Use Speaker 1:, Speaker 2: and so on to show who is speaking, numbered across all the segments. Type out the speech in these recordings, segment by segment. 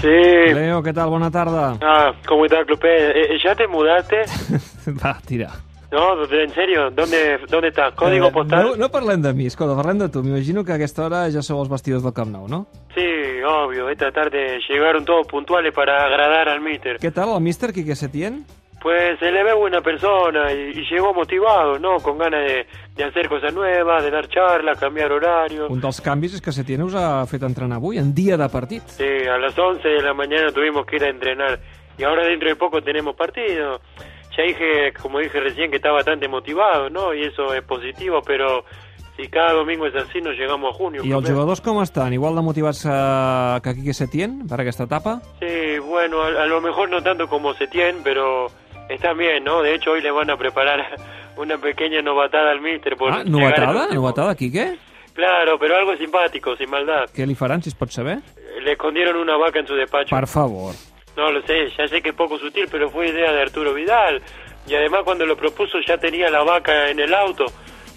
Speaker 1: Sí.
Speaker 2: Leo, què tal? Bona tarda.
Speaker 1: Ah, ¿cómo está, Clupé? Eh, eh, ¿Ya te mudaste?
Speaker 2: Va, tira.
Speaker 1: No, de- en serio, ¿dónde, dónde estás? ¿Código
Speaker 2: Eh,
Speaker 1: postal?
Speaker 2: No, no parlem de mi, escolta, parlem de tu. M'imagino que a aquesta hora ja sou els vestidors del Camp Nou, no?
Speaker 1: Sí, obvio, esta tarde llegaron todos puntuales para agradar al mister.
Speaker 2: Què tal, el míster Quique Setién?
Speaker 1: Pues se le ve buena persona y, y llegó motivado, ¿no? Con ganas de, de hacer cosas nuevas, de dar charlas, cambiar horario.
Speaker 2: Un dels canvis és que Setién us ha fet entrenar avui, en dia de partit.
Speaker 1: Sí, a las 11 de la mañana tuvimos que ir a entrenar y ahora dentro de poco tenemos partido. Ya dije, como dije recién, que está bastante motivado, ¿no? Y eso es positivo, pero si cada domingo es así, no llegamos a junio.
Speaker 2: I els
Speaker 1: profe.
Speaker 2: jugadors com estan? Igual de motivats eh, que Quique Setién per aquesta etapa?
Speaker 1: Sí, bueno, a, a lo mejor no tanto como Setién, pero están bien, ¿no? De hecho, hoy le van a preparar una pequeña novatada al míster. Por
Speaker 2: ah,
Speaker 1: llegar al
Speaker 2: novetada?
Speaker 1: último.
Speaker 2: Novetada, Quique?
Speaker 1: Claro, pero algo simpático, sin maldad.
Speaker 2: Què li faran, si es pot saber?
Speaker 1: Le escondieron una vaca en su despacho.
Speaker 2: Per favor.
Speaker 1: No lo sé, ya sé que es poco sutil, pero fue idea de Arturo Vidal. Y además cuando lo propuso ya tenía la vaca en el auto.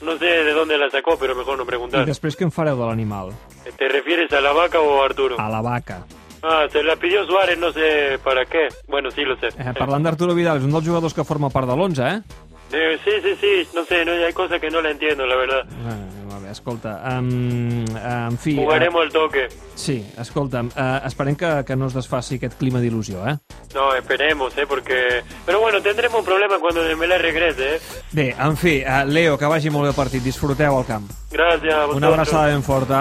Speaker 1: No sé de dónde la sacó, pero mejor no
Speaker 2: I
Speaker 1: preguntar.
Speaker 2: després què en fareu de l'animal?
Speaker 1: ¿Te refieres a la vaca o a Arturo?
Speaker 2: A la vaca.
Speaker 1: Ah, se la pidió Suárez, no sé para qué. Bueno, sí lo sé.
Speaker 2: Eh, parlant d'Arturo Vidal, és un dels jugadors que forma part de l'11, eh?
Speaker 1: Eh, sí, sí, sí, no sé, no, hay cosas que no la entiendo, la verdad.
Speaker 2: Eh, a veure, escolta, um, en fi... eh,
Speaker 1: Jugaremos al toque.
Speaker 2: Sí, escolta'm, eh, esperem que, que no es desfaci aquest clima d'il·lusió, eh?
Speaker 1: No, esperemos, ¿eh? Porque... Pero bueno, tendremos un problema cuando Dembélé regrese, ¿eh?
Speaker 2: Bé, en fi, eh, Leo, que vagi molt bé el partit, disfruteu al camp.
Speaker 1: Gracias a vosotros.
Speaker 2: Una abraçada ben forta.